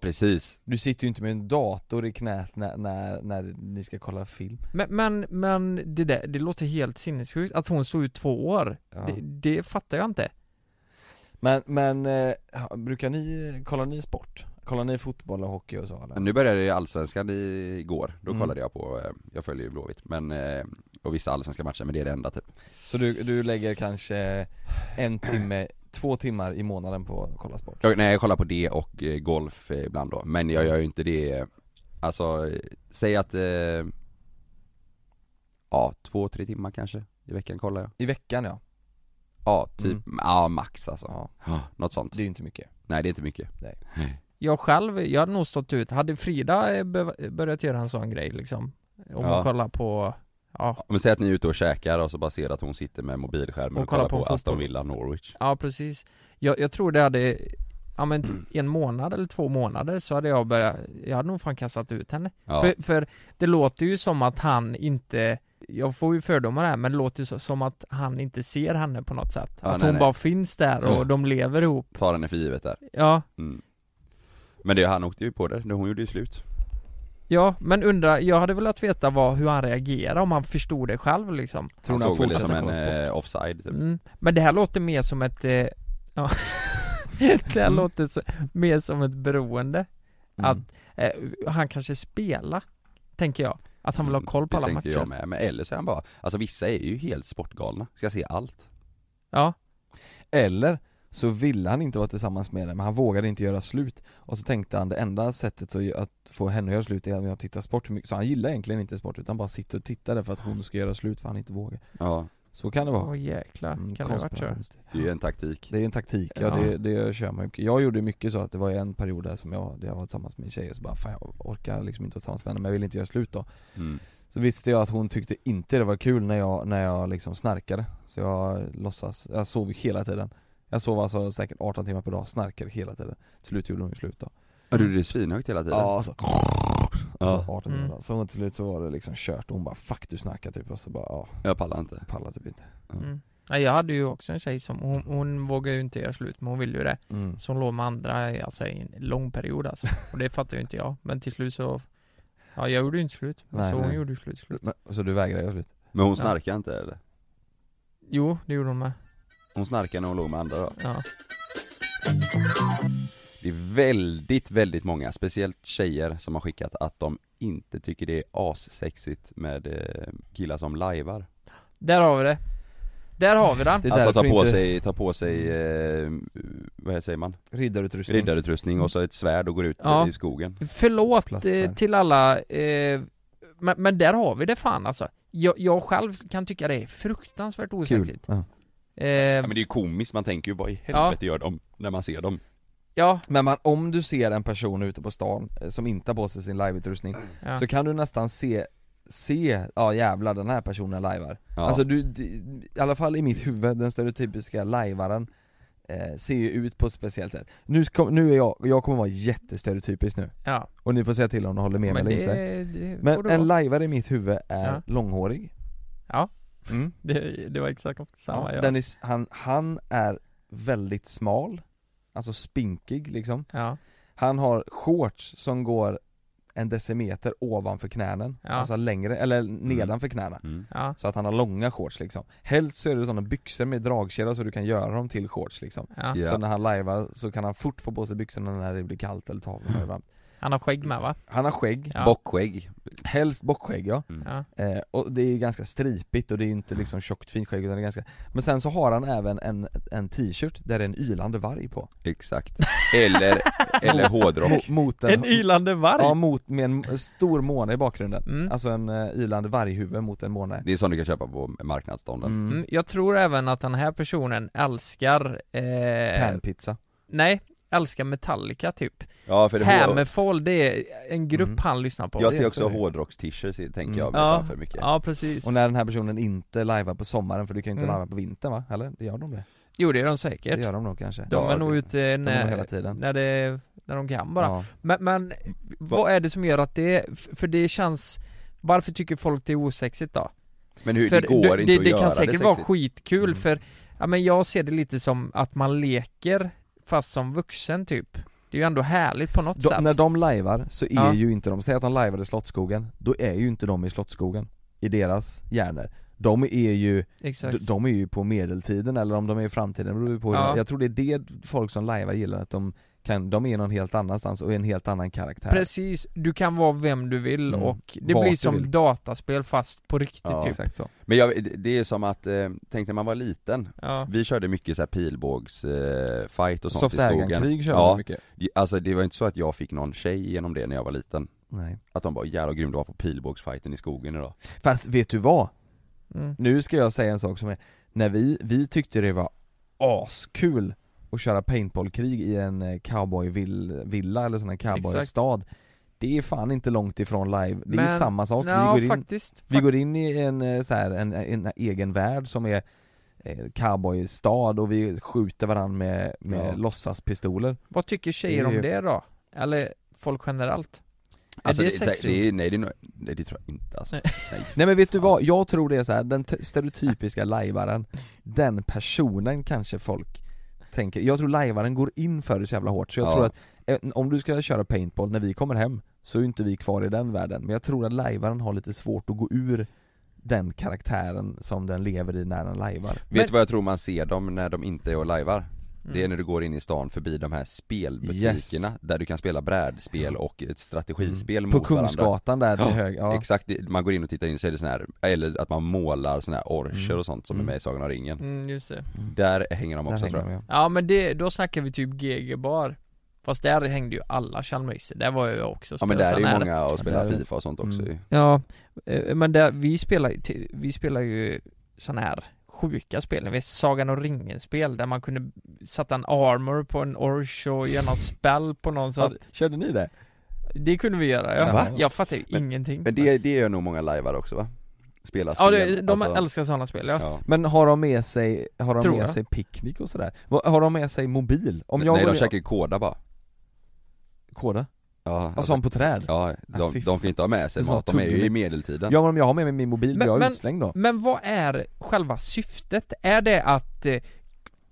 S3: Precis.
S2: Du sitter ju inte med en dator i knät när, när, när ni ska kolla film
S4: Men, men, men det där, det låter helt sinnessjukt att hon stod ut två år
S2: Ja.
S4: det, det fattar jag inte
S2: Men, men eh, ha- brukar ni, kollar ni sport? Kollar ni fotboll och hockey och så eller?
S3: Nu började ju Allsvenskan i- igår, då
S2: Mm.
S3: kollade jag på, eh, jag följer ju Blåvitt, men, eh, och vissa allsvenska matcher, men det är det enda typ.
S2: Så du, du lägger kanske en timme, två timmar i månaden på att kolla sport?
S3: Jag, nej jag kollar på det och eh, golf eh, ibland då, men jag gör ju inte det, eh, alltså, eh, säg att, eh, ja, två, tre timmar kanske i veckan kollar jag.
S2: I veckan ja,
S3: Ja, typ, ja max alltså.
S2: ja.
S3: Ja, Något sånt.
S2: det är ju inte mycket
S3: Nej det är inte mycket.
S4: Jag själv, jag hade nog stått ut, hade Frida eh, be- börjat göra en sån grej liksom Om
S3: Ja.
S4: man kollar på, ja,
S3: Men säg att ni är ute och käkar och så bara ser att hon sitter med mobilskärmen och,
S4: Och
S3: kollar
S4: kollar
S3: på,
S4: på fotboll.
S3: Aston Villa Norwich.
S4: ja precis jag, jag tror det hade, ja men en månad eller två månader så hade jag börjat, jag hade nog fan kastat ut henne
S3: Ja.
S4: För, för det låter ju som att han inte jag får ju fördomar här men det låter ju så- som att han inte ser henne på något sätt.
S3: Ja,
S4: att
S3: nej,
S4: hon
S3: nej.
S4: bara finns där och
S3: Ja.
S4: de lever ihop.
S3: Tar henne för givet där.
S4: Ja,
S3: Mm. Men det, han åkte ju på det, hon gjorde ju slut.
S4: ja men undra, jag hade velat veta vad, hur han reagerar om han förstod det själv liksom.
S2: Tror
S3: han
S2: ni han
S3: såg väl det
S2: fortsätter
S3: som en
S2: kolla sport?
S3: eh, offside typ.
S4: Mm. Men det här låter mer som ett, eh, ja. det
S3: Mm.
S4: här låter så, mer som ett beroende.
S2: Mm.
S4: Att eh, han kanske spelar, tänker jag. Att han vill ha koll på
S3: Mm, det
S4: alla
S3: tänkte jag
S4: matcher.
S3: med, men eller så är han bara, alltså vissa är ju helt sportgalna, ska se allt.
S4: Ja,
S2: Eller så ville han inte vara tillsammans med henne men han vågade inte göra slut Och så tänkte han det enda sättet så att få henne att göra slut är att jag tittar sport hur mycket Så han gillar egentligen inte sport utan bara sitter och tittar där för att hon ska göra slut för han inte vågar
S3: Ja.
S2: Så kan det
S4: åh
S2: vara
S4: jäklar.
S2: Mm,
S4: kan det ha varit så?
S2: konspirationsteori.
S3: Det är ju en taktik.
S2: Det är en taktik, ja,
S4: Ja.
S2: Det, det kör man mycket. Jag gjorde mycket så att det var en period där som jag, där jag var tillsammans med en tjej och så bara fan jag orkar liksom inte vara tillsammans med henne men jag vill inte göra slut då
S3: Mm.
S2: Så visste jag att hon tyckte inte det var kul när jag, när jag liksom snarkade Så jag låtsas, jag sov ju hela tiden Jag sov alltså säkert 18 timmar per dag, snarkade hela tiden Till slut gjorde hon ju slut då
S3: Ja du, det är svinhögt hela tiden.
S2: Ja alltså,
S3: Ja.
S2: alltså 18 timmar per
S4: Mm.
S2: dag. Så till slut så var det liksom kört och hon bara 'fuck du snarkar' typ och så bara ja,
S3: Jag pallar inte.
S2: pallar typ inte
S4: Mm. Nej, jag hade ju också en tjej som, hon, hon vågade ju inte göra slut men hon ville ju det.
S2: mm.
S4: Så hon låg med andra i, alltså, i en lång period alltså. Och det fattar ju inte jag. Men till slut så, ja jag gjorde ju inte slut. Men
S2: Nej,
S4: så hon
S2: nej.
S4: gjorde ju slut, slut.
S2: Men, Så du vägrade göra slut?
S3: Men hon
S4: Ja.
S3: snarkar inte eller?
S4: Jo, det gjorde hon med.
S3: Hon snarkar när hon låg med andra då.
S4: Ja.
S3: Det är väldigt, väldigt många, speciellt tjejer som har skickat att de inte tycker det är assexigt med eh, killar som lajvar
S4: Där har vi det. Där har vi den.
S2: Det är
S3: Alltså ta
S2: därför
S3: på
S2: inte-
S3: sig, ta på sig, eh, vad säger man?
S2: Riddarutrustning?
S3: Riddarutrustning Typ och så ett svärd och går ut
S4: Ja.
S3: i skogen
S4: Förlåt
S2: Plast här.
S4: eh, till alla, eh, men, men där har vi det fan alltså. Jag, jag själv kan tycka det är fruktansvärt
S2: Kul,
S4: osexigt.
S2: ja.
S4: Eh,
S3: ja, men det är ju komiskt, man tänker ju vad i helvete gör de när man ser dem?
S4: ja,
S2: Men man, om du ser en person ute på stan eh, som inte har på sig sin liveutrustning
S4: ja.
S2: Så kan du nästan se, se, ja jävlar den här personen lajvar
S3: Ja.
S2: Alltså du, d- i alla fall i mitt huvud, den stereotypiska lajvaren eh, Ser ju ut på ett speciellt sätt Nu, ska, nu är jag, jag kommer vara jättestereotypisk nu
S4: ja.
S2: Och ni får säga till om ni håller med mig
S4: Men
S2: eller
S4: det,
S2: inte
S4: det får
S2: Men
S4: du
S2: en
S4: vara.
S2: lajvare i mitt huvud är
S4: Ja.
S2: långhårig
S4: Ja.
S2: mm.
S4: det, det var exakt samma
S2: ja,
S4: jag.
S2: Den är, s- han, han är väldigt smal Alltså spinkig liksom
S4: Ja.
S2: Han har shorts som går en decimeter ovanför knäna,
S4: Ja.
S2: alltså längre, eller nedanför knäna
S3: mm.
S4: Ja,
S2: Så att han har långa shorts liksom Helst så är det sådana byxor med dragkedja så du kan göra dem till shorts liksom
S4: ja.
S3: Ja.
S2: Så när han lajvar så kan han fort få på sig byxorna när det blir kallt eller torrt eller varmt.
S4: Han har skägg med va?
S2: Han har skägg,
S4: Mm. Ja.
S3: Bockskägg Mm,
S2: helst bockskägg ja
S4: Ja.
S2: eh, Och det är ju ganska stripigt och det är inte liksom tjockt fint skägg utan det är ganska Men sen så har han även en, en t-shirt där det är en ylande varg på
S3: Exakt Eller, eller hårdrock
S2: Mo- mot en,
S4: En ylande varg?
S2: Ja, mot, med en stor måne i bakgrunden
S4: Mm.
S2: Alltså en eh, ylande varghuvud mot en måne
S3: Det är sånt du kan köpa på marknadsstånden
S2: mm.
S4: Mm, jag tror även att den här personen älskar, eh,
S2: Panpizza
S4: nej, älskar Metallica typ
S3: Ja för det
S4: Hammerfall, det är en grupp
S2: Mm.
S4: han lyssnar på
S3: Jag
S2: det
S3: ser
S2: är
S3: också
S2: så det är.
S3: hårdrockst-t-shirts tänker jag
S2: Mm.
S3: mig
S4: Ja.
S3: framför mycket
S4: Ja precis
S2: Och när den här personen inte lajvar på sommaren för du kan ju inte
S4: Mm.
S2: lajva på vintern va? Eller? Gör de det?
S4: Jo det är de
S2: Det
S4: säkert.
S2: gör de nog kanske
S4: De
S3: Ja,
S4: är nog
S3: det-
S4: ute
S2: de är nog hela
S4: när,
S2: tiden
S4: när, det, när de kan bara.
S2: ja.
S4: Men, men vad är det som gör att det, f- för det känns varför tycker folk det är osexigt då?
S3: Men hur,
S4: för
S3: det går
S4: du-
S3: inte
S4: det,
S3: att
S4: det
S3: göra
S4: kan säkert
S3: det
S4: vara
S3: sexigt.
S4: skitkul
S2: Mm.
S4: för, ja men jag ser det lite som att man leker fast som vuxen typ Det är ju ändå härligt på något
S2: de,
S4: sätt
S2: När de lajvar så är
S4: Ja.
S2: ju inte de, säg att de lajvar i Slottsskogen, då är ju inte de i Slottsskogen I deras hjärnor De är ju,
S4: Exakt
S2: d- de är ju på medeltiden eller om de är i framtiden, det beror ju på hur
S4: Ja.
S2: de, Jag tror det är det folk som lajvar gillar, att de kan, de är någon helt annanstans och är en helt annan karaktär
S4: Precis, du kan vara vem du vill
S2: Mm.
S4: och det
S2: Vart
S4: blir
S2: du
S4: som
S2: vill.
S4: dataspel fast på riktigt
S3: Ja.
S4: typ
S2: Exakt så
S3: Men jag, det- det är som att, eh, tänk när man var liten,
S4: Ja,
S3: vi körde mycket så här pilbågs eh, fight och sånt
S2: Soft
S3: i skogen
S2: ägankrig kör
S3: Ja.
S2: de mycket
S3: Alltså det var inte så att jag fick någon tjej genom det när jag var liten
S2: Nej.
S3: Att de bara 'jävlar vad grym du var på pilbågsfighten i skogen idag'
S2: Fast vet du vad?
S4: mm.
S2: Nu ska jag säga en sak som är, när vi, vi tyckte det var askul att köra paintballkrig i en eh, cowboyvilla eller sån här cowboystad Det är fan inte långt ifrån live, det är
S4: Men-
S2: samma sak,
S4: ja
S2: vi, går in,
S4: faktiskt
S2: vi går in i en, eh, så här, en, en egen värld som är eh, cowboystad och vi skjuter varandra med, med
S3: Ja.
S2: låtsaspistoler
S4: Vad tycker tjejer
S2: Det är
S4: om
S2: ju-
S4: det då? Eller folk generellt? är det, sexigt?
S3: Alltså, det är, nej, det är, nog- nej det tror jag inte alltså.
S4: Nej.
S3: nej.
S2: Nej men vet du vad, jag tror det är så här, den t- stereotypiska lajvaren, den personen kanske folk tänker, jag tror lajvaren går in för det så jävla hårt så jag
S3: Ja.
S2: tror att eh, om du ska köra paintball när vi kommer hem så är ju inte vi kvar i den världen, men jag tror att lajvaren har lite svårt att gå ur den karaktären som den lever i när den lajvar
S3: Vet du vad jag tror man ser dem när de inte är och lajvar? Det är
S4: Mm.
S3: när du går in i stan förbi de här spelbutikerna där du kan spela brädspel och ett strategispel
S2: Mm. På
S3: mot varandra
S2: Kungsgatan där
S3: Ja,
S2: till höger, ja.
S3: Exakt, det- man går in och tittar in så är det sån här, eller att man målar såna här orcher
S2: Mm.
S3: och sånt som
S2: Mm.
S3: är med i Sagan om ringen
S4: Mm, just det
S3: Där hänger de
S2: Där
S3: också tror
S2: hänger
S3: jag
S2: de, ja.
S4: Ja men det, då snackar vi typ GG bar Fast där hängde ju alla chalmerister, där var jag också och
S3: Ja men
S4: spelade
S3: där är
S4: sån här-
S3: ju många och spelar
S2: där är-
S3: Fifa och sånt också
S2: Mm.
S3: ju.
S4: Ja, eh, men där, vi spelar ju, till- vi spelar ju sådana här sjuka spel, ni vet Sagan och ringen-spel där man kunde sätta en armor på en orch och göra någon spell på någon så att,
S2: Körde ni det?
S4: Det kunde vi göra, jag,
S2: Va?
S4: jag fattar ju
S3: Men-
S4: ingenting
S3: Men det, det gör nog många lajvar också va? Spelar
S4: Ja,
S3: spel
S4: det, de
S3: alltså.
S4: älskar sådana spel ja,
S3: Ja.
S2: Men har de med sig, har de
S4: Tror
S2: med
S4: jag.
S2: sig picknick och sådär? Vad- Har de med sig mobil? Om jag
S3: Nej
S2: går
S3: de
S2: in-
S3: käkar ju koda bara
S2: Koda?
S3: Ja, alltså,
S2: Och sån på träd?
S3: ja
S2: Ah,
S3: de,
S2: fy
S3: de kan ju inte ha med sig
S2: Det är
S3: mat,
S2: sån
S3: de är ju
S2: tuggummi.
S3: i medeltiden
S2: Ja men om jag har med mig min mobil blir
S4: Men-
S2: jag
S4: men-
S2: utslängd då?
S4: Men vad är själva syftet? Är det att eh,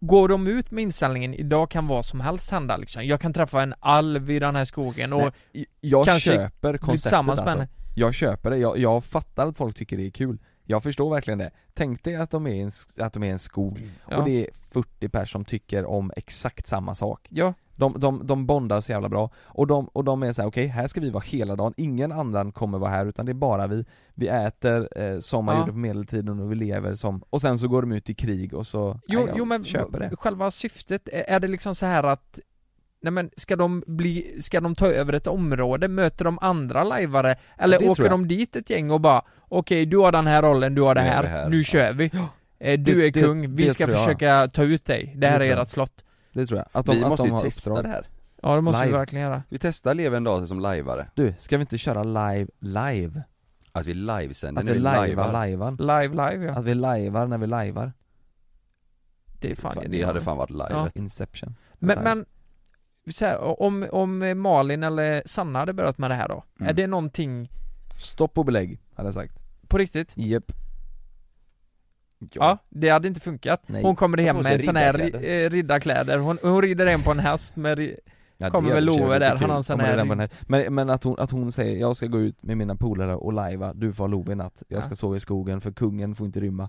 S4: Går de ut med inställningen, idag kan vad som helst hända liksom. Jag kan träffa en alv i den här skogen och
S2: Nej, j- jag
S4: kanske
S2: köper
S4: bli
S2: konceptet
S4: tillsammans med
S2: alltså.
S4: henne
S2: Jag köper det, jag, jag fattar att folk tycker det är kul Jag förstår verkligen det. Tänk dig att de är i en, sk- att de är i en skog
S4: ja.
S2: och det är 40 personer som tycker om exakt samma sak
S4: ja,
S2: De, de, de bondar så jävla bra och de, och de är så här: okej här ska vi vara hela dagen, ingen annan kommer vara här utan det är bara vi Vi äter eh, som man
S4: Ja.
S2: gjorde på medeltiden och vi lever som, och sen så går de ut i krig och så
S4: Jo,
S2: Nej, jag
S4: jo men
S2: köper det
S4: själva syftet, är är det liksom så här att Nej men ska de bli, ska de ta över ett område, möter de andra lajvare? Eller
S2: det tror
S4: åker
S2: jag.
S4: de dit ett gäng och bara Okej, du har den här rollen, du har det
S3: Nu är
S4: här,
S3: vi här."
S4: nu kör vi Eh, Du
S2: Det-
S4: är
S2: det-
S4: kung, vi
S2: det
S4: ska
S2: tror jag.
S4: försöka ta ut dig, det här
S2: Det
S4: är
S2: tror jag.
S4: ert slott
S2: Det tror jag, att de,
S3: Vi
S2: att
S3: måste
S2: de
S3: ju
S2: har
S3: testa
S2: uppdrag
S3: det här
S4: Ja det måste vi
S2: Live.
S4: verkligen göra
S3: Vi testar leva en dag som lajvare
S2: Du, ska vi inte köra live, live?
S3: Att vi livesänder
S2: Att
S3: när
S2: vi
S3: vi lajvar
S2: lajvar, lajvan
S4: Live, live ja,
S2: Att vi lajvar när vi lajvar
S4: det är fan,
S3: Fan, Det
S4: genialt.
S3: hade fan varit live
S2: Inception
S4: Men,
S2: Live.
S4: men så här, om, om Malin eller Sanna hade börjat med det här då?
S3: Mm.
S4: Är det någonting
S2: Stopp och belägg, hade jag sagt
S4: på riktigt?
S2: Japp
S4: Ja, det hade inte funkat.
S2: Nej.
S4: Hon kommer hem
S3: på
S4: med
S3: sig
S4: en sån här ri-
S3: riddarkläder.
S4: eh, riddarkläder, hon, hon rider hem på en häst med ri-
S2: ja,
S4: Kommer väl Ove där, han har en sån här-
S2: här Men, men att, hon, att hon säger, jag ska gå ut med mina polare och lajva, du får ha Love i natt Jag ska
S4: Ja.
S2: sova i skogen för kungen får inte rymma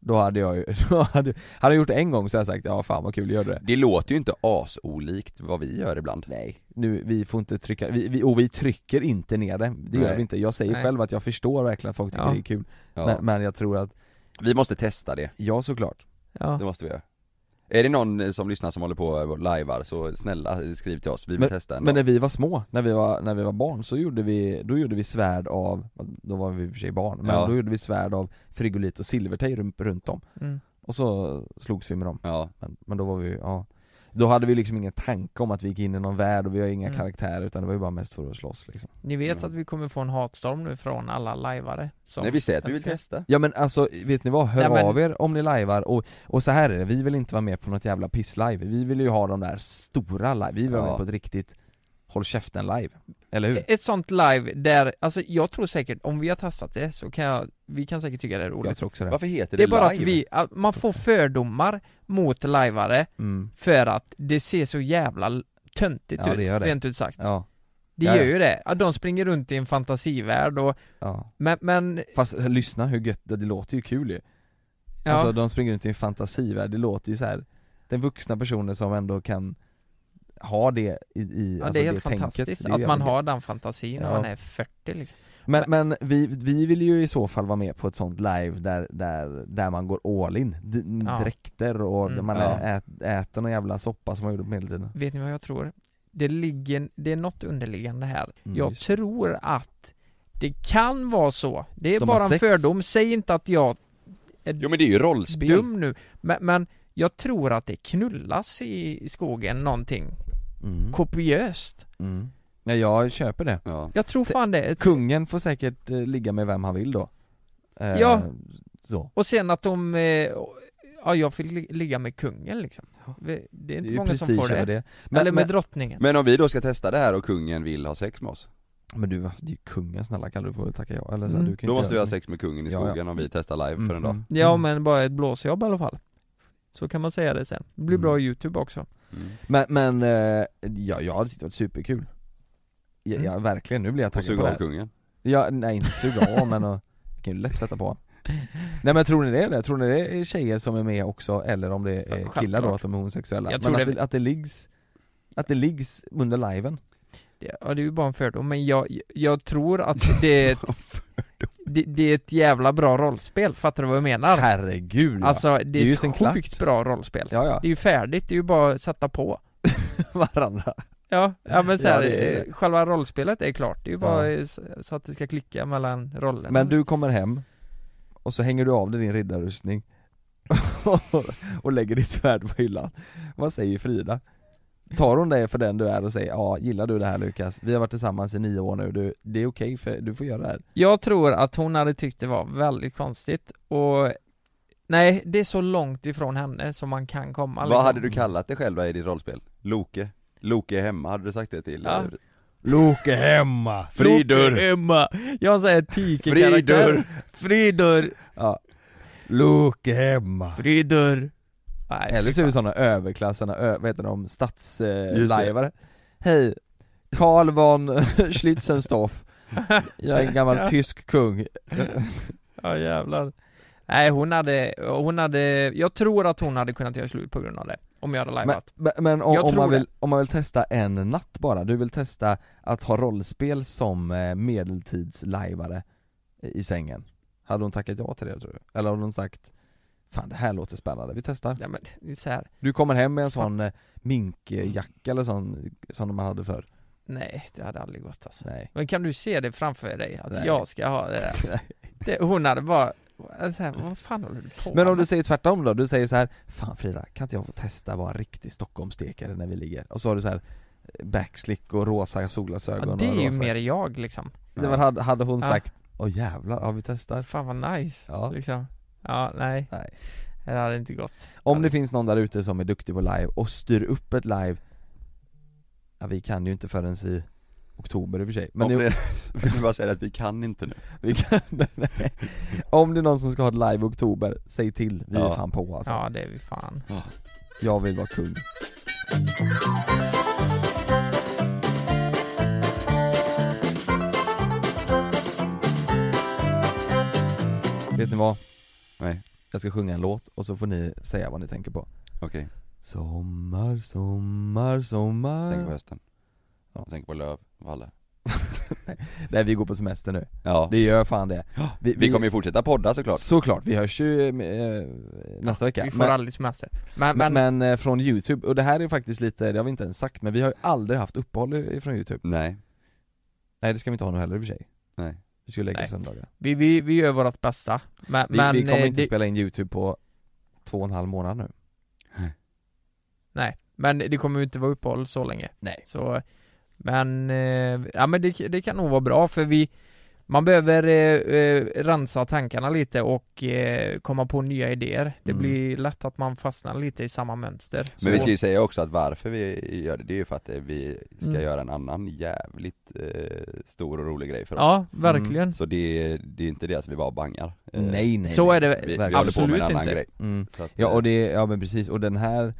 S2: Då hade jag ju, då hade, hade jag gjort det en gång så hade jag sagt, ja fan vad kul, gör du det?
S3: Det låter ju inte asolikt vad vi gör ibland
S2: Nej, nu, vi får inte trycka, vi, vi, och vi trycker inte ner det, det gör
S3: Nej.
S2: vi inte Jag säger
S4: Nej.
S2: själv att jag förstår verkligen att folk tycker
S4: Ja.
S2: det är kul
S3: ja.
S2: men, men jag tror att,
S3: Vi måste testa det,
S2: ja såklart
S4: Ja,
S3: det måste vi göra Är det någon eh, som lyssnar som håller på och lajvar så snälla eh, skriv till oss, vi vill testa en
S2: Men
S3: dag.
S2: när vi var små, när vi var, när vi var barn, så gjorde vi, då gjorde vi svärd av, då var vi i och för sig barn, men
S3: Ja.
S2: då gjorde vi svärd av frigolit och silvertejp runt, runt om
S4: mm.
S2: Och så slogs vi med dem,
S3: Ja,
S2: men, men då var vi, ja Då hade vi liksom ingen tanke om att vi gick in i någon värld och vi har inga
S4: Mm.
S2: karaktärer utan det var ju bara mest för att slåss liksom
S4: Ni vet
S3: Mm.
S4: att vi kommer få en hatstorm nu från alla lajvare som...
S3: Nej vi säger att vi vill
S4: älskar.
S3: testa
S2: Ja men alltså, vet ni vad? Hör
S4: Nej, men-
S2: av er om ni lajvar och, och så här är det, vi vill inte vara med på något jävla pisslive Vi vill ju ha de där stora live, vi vill vara
S3: Ja. Eh,
S2: med på ett riktigt Håll käften live, eller hur?
S4: Ett sånt live där, alltså jag tror säkert, om vi har testat det så kan jag, vi kan säkert tycka det är
S2: Jag
S4: roligt
S2: tror också det
S3: Varför heter
S4: Det
S3: det,
S4: är bara att
S3: live?
S4: vi, att man får fördomar mot lajvare
S2: mm.
S4: för att det ser så jävla l- töntigt
S2: Ja,
S4: ut,
S2: det gör det.
S4: rent ut sagt
S2: Ja,
S4: Det
S2: Ja,
S4: gör
S2: ja.
S4: ju det, att de springer runt i en fantasivärld och,
S2: ja
S4: men, men
S2: Fast eh, lyssna hur gött, det det låter ju kul ju
S4: ja,
S2: Alltså de springer runt i en fantasivärld, det låter ju så här. Den vuxna personen som ändå kan ha det i, i
S4: ja,
S2: alltså
S4: det är helt
S2: tänket,
S4: fantastiskt
S2: det är ju
S4: att man
S2: jävligt
S4: har den fantasin när
S2: Ja.
S4: man är 40 liksom
S2: Men, men vi, vi vill ju i så fall vara med på ett sånt live där, där, där man går all in, D-
S4: Ja.
S2: dräkter och
S4: Mm.
S2: man
S3: Ja.
S2: ä, ät, äter någon jävla soppa som man gjorde på medeltiden
S4: Vet ni vad jag tror? Det ligger, det är något underliggande här
S2: Mm,
S4: Jag
S2: just
S4: tror att det kan vara så, det är
S2: De har
S4: bara en
S2: sex.
S4: fördom, säg inte att jag är
S3: Jo men det är ju rollspel
S4: dum nu men, men jag tror att det knullas i i skogen någonting
S2: mm.
S4: kopiöst
S2: Mm. Nej jag köper det
S3: Ja,
S4: Jag tror fan det, Ett-
S2: Kungen får säkert eh, ligga med vem han vill då Eh,
S4: Ja.
S2: Så,
S4: och sen att de, eh, ja jag fick li- ligga med kungen liksom Vi- Det är inte
S2: ju
S4: många som
S2: prestige
S4: får det,
S2: över Men,
S4: eller med
S2: men,
S4: drottningen
S3: men om vi då ska testa det här och kungen vill ha sex med oss
S2: men du, det är ju kungen snälla kan du få tacka ja, eller så, här,
S4: Mm.
S2: du kan
S3: Då
S2: inte
S3: måste vi
S2: göra
S3: ha
S2: så
S3: sex med kungen i
S2: Ja, ja.
S3: skogen om vi testar live
S2: mycket.
S3: för en dag
S2: Mhm.
S4: Ja men bara ett blåsjobb i alla fall Så kan man säga det sen, det blir
S2: Mm.
S4: bra youtube också
S3: Mm.
S2: Men, men, eh, ja, jag hade tyckt det var superkul ja,
S4: Mm.
S2: ja, verkligen, nu blir jag
S3: Och
S2: taggad på det
S3: suga av
S2: här.
S3: kungen
S2: Ja, nej inte suga av men och, jag kan ju lätt sätta på Nej men tror ni det är det? Tror ni det är tjejer som är med också eller om det är
S4: Självklart.
S2: killar då, att de är homosexuella?
S4: Jag
S2: men
S4: tror
S2: att,
S4: det-
S2: det, att det liggs att det liggs under liven?
S4: det, Ja det är ju bara en fördom, men jag, jag tror att det är ett, det, det är ett jävla bra rollspel, fattar du vad jag menar?
S2: Herregud ja.
S4: Alltså det,
S2: Det är
S4: är
S2: ju
S4: ett
S2: sin
S4: sjukt
S2: klack.
S4: bra rollspel
S2: ja ja,
S4: Det är ju färdigt, det är ju bara att sätta på
S2: varandra
S4: Ja, ja men så
S2: Ja,
S4: här,
S2: det är
S4: eh, själva rollspelet är klart, det är ju bara eh, s- så att det ska klicka mellan rollerna
S2: Men du kommer hem och så hänger du av dig din riddarrustning och lägger ditt svärd på hyllan Vad säger Frida? Tar hon dig för den du är och säger ja, gillar du det här Lukas? Vi har varit tillsammans i nio år nu, du, det är okej för du får göra det här
S4: Jag tror att hon hade tyckt det var väldigt konstigt och Nej, det är så långt ifrån henne som man kan komma liksom.
S3: Vad hade du kallat dig själv i ditt rollspel? Loke? Loke är hemma, hade du sagt det till? eh,
S4: Ja.
S2: Loke hemma!
S3: Fridur!
S4: Loke Emma! Jag säger tyke-karaktär
S3: Fridur!
S4: Fridur!
S2: Ja Loke hemma!
S4: Fridur! Nej,
S2: Eller så är vi sådana överklassarna, ö, vad heter de,
S3: Just det.
S2: stadslajvare Hej, Karl von Schlitzenstoff Jag är en gammal
S4: Ja.
S2: tysk kung
S4: Ja jävlar Nej hon hade, hon hade, jag tror att hon hade kunnat göra slut på grund av det Om jag hade
S2: Men,
S4: lajvat
S2: men- men om,
S4: Jag
S2: om,
S4: tror
S2: man vill,
S4: det.
S2: om man vill testa en natt bara, du vill testa att ha rollspel som eh, medeltidslajvare i i sängen? Hade hon tackat ja till det tror du? Eller hade hon sagt Fan det här låter spännande, vi testar.
S4: Ja men det är så här.
S2: Du kommer hem med en
S4: Fan.
S2: sån eh, minkjacka eller sån som man hade förr?
S4: nej det hade aldrig gått alltså Äh.
S2: Nej.
S4: Men kan du se det framför dig? Att
S2: Nej.
S4: jag ska ha det där? Det, hon hade bara, så här, vad fan håller du på
S2: Men om du
S4: med?
S2: säger tvärtom då, du säger så här Fan Frida, kan inte jag få testa att vara en riktig Stockholmsstekare när vi ligger? Och så har du så här eh, backslick och rosa solglasögon
S4: ja, Det
S2: och
S4: är ju
S2: rosa-
S4: mer jag liksom
S2: Nej, men hade, hade hon
S4: Ja.
S2: sagt Åh jävlar, ja vi testar
S4: Fan vad nice,
S2: Ja.
S4: liksom Ja, nej
S2: Nej.
S4: Det hade inte gått
S2: Om det finns någon där ute som är duktig på live och styr upp ett live Ja vi kan ju inte förrän i oktober i och för sig
S3: Men
S2: men
S3: om
S2: det,
S3: det... Vill du bara säga att vi kan inte nu?
S2: vi kan, nej. Om det är någon som ska ha ett live i oktober, säg till, vi är
S3: Ja.
S2: fan på alltså
S4: Ja det är vi fan
S2: Jag vill vara kung Vet ni vad?
S3: Nej,
S2: Jag ska sjunga en låt och så får ni säga vad ni tänker på
S3: okej,
S2: Sommar, sommar,
S3: tänk på
S2: sommar
S3: hösten Tänk på löv, valle
S2: Nej vi går på semester nu,
S3: Ja,
S2: det gör fan det
S3: vi, kommer ju fortsätta podda såklart
S2: Såklart, vi hörs ju eh, nästa vecka
S4: Vi får
S2: men,
S4: aldrig semester Men, men,
S2: men, men eh, från youtube, och det här är faktiskt lite, det har vi inte ens sagt men vi har ju aldrig haft uppehåll i- ifrån youtube
S3: Nej,
S2: Nej det ska vi inte ha nu heller i och för sig
S3: nej
S2: Vi ska ju lägga
S4: Nej.
S2: söndagar
S4: vi, vi, vi gör vårt bästa Men,
S2: vi,
S4: men
S2: vi kommer
S4: eh,
S2: inte
S4: det,
S2: spela in youtube på två och en halv månad nu
S4: Nej, Men det kommer ju inte vara uppehåll så länge
S2: Nej.
S4: Så Men, eh, ja men det, det kan nog vara bra för vi Man behöver eh, eh, rensa tankarna lite och eh, komma på nya idéer Det
S2: Mm.
S4: blir lätt att man fastnar lite i samma mönster Så-
S3: Men vi ska ju säga också att varför vi gör det, det är ju för att eh, vi ska
S4: Mm.
S3: göra en annan jävligt eh, stor och rolig grej för oss
S4: Ja, verkligen
S3: Så det, det är inte det att vi bara bangar Eh,
S2: Nej nej
S4: Så
S2: nej.
S4: är det
S3: vi, vi håller på med
S4: absolut
S3: en annan
S4: inte
S3: grej
S2: Mm.
S3: så att,
S2: Ja och
S3: eh,
S2: det, ja men precis, och den här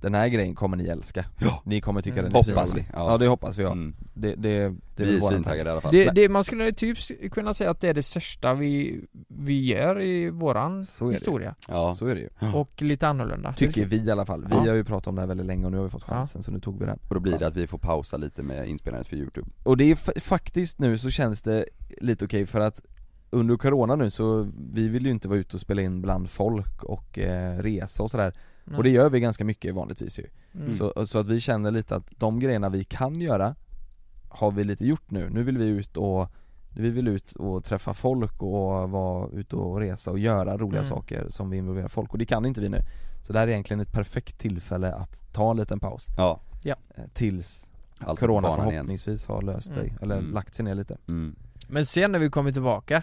S2: Den här grejen kommer ni älska
S3: Ja.
S2: Ni kommer tycka
S4: Mm.
S2: den är
S3: Hoppas
S2: svinrolig.
S3: vi, ja.
S2: ja. det hoppas vi ja.
S3: mm.
S2: Det, det, det
S3: Vi är
S2: våran
S3: svintaggade i alla fall
S4: det, det, man skulle ju typ s- kunna säga att det är det största vi, vi gör i våran
S2: tanke. Så är det
S4: historia
S3: Ja,
S2: Så är det ju
S4: och lite annorlunda
S2: Tycker vi i alla fall, vi
S4: Ja.
S2: har ju pratat om det här väldigt länge och nu har vi fått chansen så nu tog vi den
S3: och då blir det att vi får pausa lite med inspelandet för youtube
S2: Och det är fa- faktiskt nu så känns det lite okej för att under corona nu så, vi vill ju inte vara ute och spela in bland folk och eh, resa och sådär
S4: Nej.
S2: Och det gör vi ganska mycket vanligtvis ju
S4: Mm.
S2: så, så att vi känner lite att de grejerna vi kan göra Har vi lite gjort nu, nu vill vi ut och Vi vill ut och träffa folk och vara ute och resa och göra roliga
S4: Mm.
S2: saker som vi involverar folk och det kan inte vi nu Så det här är egentligen ett perfekt tillfälle att ta en liten paus
S3: Ja,
S2: eh, Tills
S3: allt på
S2: Corona
S3: banan igen
S2: förhoppningsvis har löst sig,
S4: Mm.
S2: eller
S3: Mm.
S2: lagt sig ner lite
S3: mm.
S4: Men sen när vi kommer tillbaka,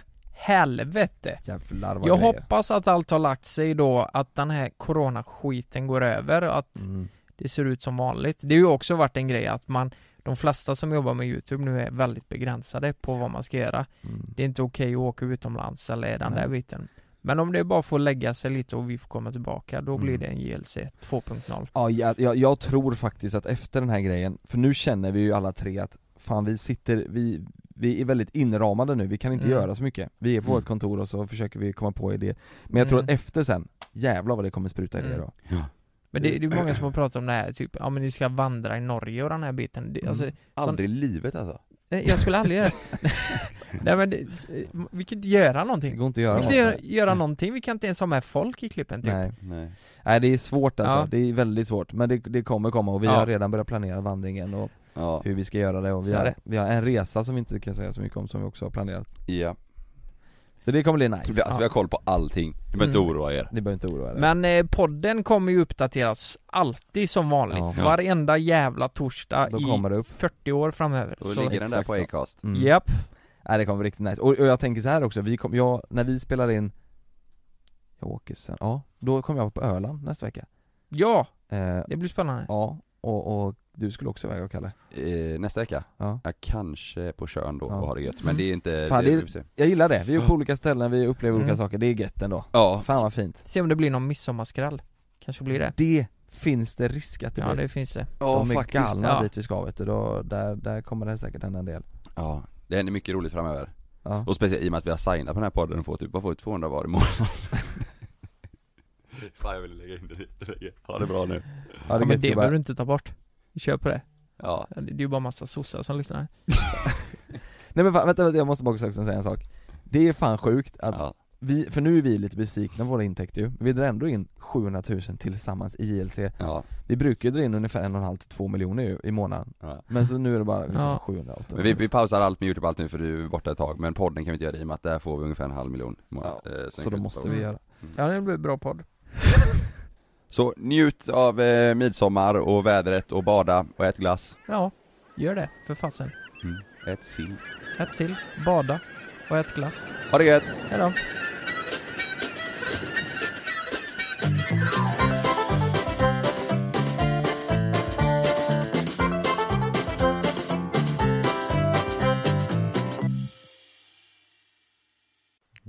S4: helvete!
S2: Jävlar vad
S4: Jag
S2: grejer.
S4: hoppas att allt har lagt sig då, att den här coronaskiten går över och att
S2: mm.
S4: det ser ut som vanligt. Det har ju också varit en grej att man, de flesta som jobbar med YouTube nu är väldigt begränsade på vad man ska göra.
S2: Mm.
S4: Det är inte okej att åka utomlands eller den
S2: Nej.
S4: där biten. Men om det bara får lägga sig lite och vi får komma tillbaka, då blir
S2: Mm.
S4: det en JLC 2.0.
S2: Ja, jag, jag, jag tror faktiskt att efter den här grejen, för nu känner vi ju alla tre att fan vi sitter, vi, vi är väldigt inramade nu, vi kan inte
S4: Mm.
S2: göra så mycket Vi är på
S3: Mm.
S2: vårt kontor och så försöker vi komma på idéer Men jag tror
S4: Mm.
S2: att efter sen, jävlar vad det kommer spruta idéer
S4: Mm.
S2: då
S4: Men det,
S2: Mm.
S4: det är många som har pratat om det här, typ, ja men ni ska vandra i Norge och den här biten. Det,
S2: Mm.
S4: alltså,
S3: Aldrig i livet alltså
S4: Nej, jag skulle aldrig göra Nej men, det, vi kan inte göra
S2: Det
S4: någonting
S2: går inte att göra
S4: Vi kan
S2: något.
S4: inte göra, göra någonting, vi kan inte ens ha med folk i klippen typ
S2: Nej.
S3: Nej.
S2: Nej det är svårt alltså,
S4: Ja.
S2: det är väldigt svårt Men det, det kommer komma och vi
S4: Ja.
S2: har redan börjat planera vandringen och
S3: Ja,
S2: hur vi ska göra det och vi
S4: Så är
S2: har,
S4: det.
S2: vi har en resa som vi inte kan säga så mycket om som vi också har planerat
S3: ja.
S2: Så det kommer bli
S3: Det blir,
S2: nice,
S3: alltså, vi har koll på allting, ni behöver inte
S4: Mm.
S3: oroa er
S2: ni behöver inte oroa er
S4: Men eh, podden kommer ju uppdateras alltid som vanligt,
S2: Ja.
S4: varenda jävla torsdag
S2: Då
S4: i
S2: kommer det upp
S4: 40 år framöver
S3: Då ligger den där
S2: exakt
S3: på
S2: så.
S3: Acast
S2: Mm.
S4: Japp,
S2: Nej det kommer bli riktigt nice, och, och jag tänker så här också, vi kom, jag, när vi spelar in Jag åker sen, ja, då kommer jag på Öland nästa vecka
S4: ja,
S2: eh,
S4: det blir spännande
S2: Ja, och, och du skulle också iväg och Kalle
S3: eh, Nästa vecka,
S2: Ja.
S3: ja, kanske på Tjörn då
S2: Ja.
S3: och har det gött, men det är inte,
S2: Fan,
S3: det,
S2: det är-
S3: vi får se.
S2: Jag gillar det, vi är på olika ställen, vi upplever olika
S4: Mm.
S2: saker, det är gött ändå
S3: Ja,
S2: Fan vad fint
S4: Se om det blir någon midsommarskrall, kanske blir det
S2: Det finns det risk att det
S4: Ja
S2: blir
S4: det finns det
S2: De är galna
S4: Ja.
S2: dit vi ska vet du, då, där, där kommer det säkert hända en del
S3: Ja, det händer mycket roligt framöver.
S2: Ja,
S3: Och speciellt i och med att vi har signat på den här podden och får typ, vad får vi, 200 var i månaden? Fan jag ville lägga in det lite längre, ha det bra nu
S2: ja det
S4: ja,
S2: är
S4: men
S2: gött
S4: det
S2: gubbar.
S4: behöver du inte ta bort Vi kör på det,
S3: Ja,
S4: det är ju bara massa sossar som lyssnar
S2: Nej men fan, vänta, vänta, jag måste bara också säga en sak Det är fan sjukt att
S3: ja.
S2: vi, för nu är vi lite besvikna på våra intäkter ju, men vi drar ändå in 700 000 tillsammans i JLC
S3: ja.
S2: Vi brukar ju dra in ungefär en och en halv till två miljoner ju i månaden
S3: Ja.
S2: Men så nu är det bara liksom
S4: Ja.
S2: 700 800
S3: Men vi, vi pausar allt med youtube allt nu för du är borta ett tag, men podden kan vi inte göra i och med att där får vi ungefär en halv miljon i månaden.
S2: Ja,
S3: Eh, sen
S2: Så
S3: kan
S2: då
S3: vi
S2: måste
S3: pausa.
S2: vi göra
S4: Ja det blir en bra podd
S3: Så njut av eh, midsommar och vädret och bada och ät glass,
S4: Ja, gör det, för fasen
S2: Mm.
S3: ät sill
S4: Ät sill, bada och ät glass.
S3: Ha det gött!
S4: Hejdå!